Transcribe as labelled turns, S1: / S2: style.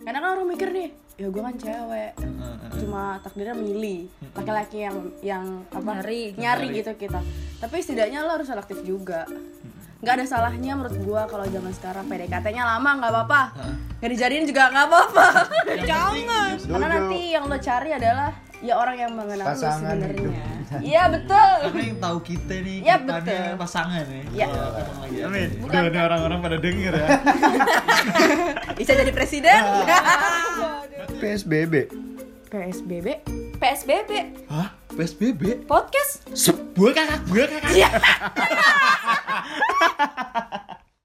S1: karena kan orang mikir nih ya gue kan cewek
S2: Heeh, heeh.
S1: cuma takdirnya milih laki-laki yang yang apa
S3: Nyari.
S1: nyari
S2: Nyari.
S1: gitu kita tapi setidaknya lo harus selektif juga nggak ada salahnya menurut gua kalau zaman sekarang PDKT-nya lama nggak apa-apa nggak dijadiin juga nggak apa-apa
S2: Jangan.
S1: karena
S4: Setuju.
S1: nanti yang lo cari adalah ya orang yang mengenal lo
S4: Pasangan
S1: sebenarnya
S4: hidup.
S1: iya betul
S2: Karena yang tahu kita nih
S1: Ya,
S2: kedepannya
S1: betul.
S2: pasangan nih.
S1: Ya.
S2: Iya, ketemu lagi.
S5: Amin. Udah ada orang-orang pada denger ya.
S1: bisa jadi presiden
S4: Ah. PSBB.
S1: PSBB
S3: PSBB
S2: Hah? PSBB?
S3: podcast
S2: Sebuah kakak gue kakak.
S1: Iya.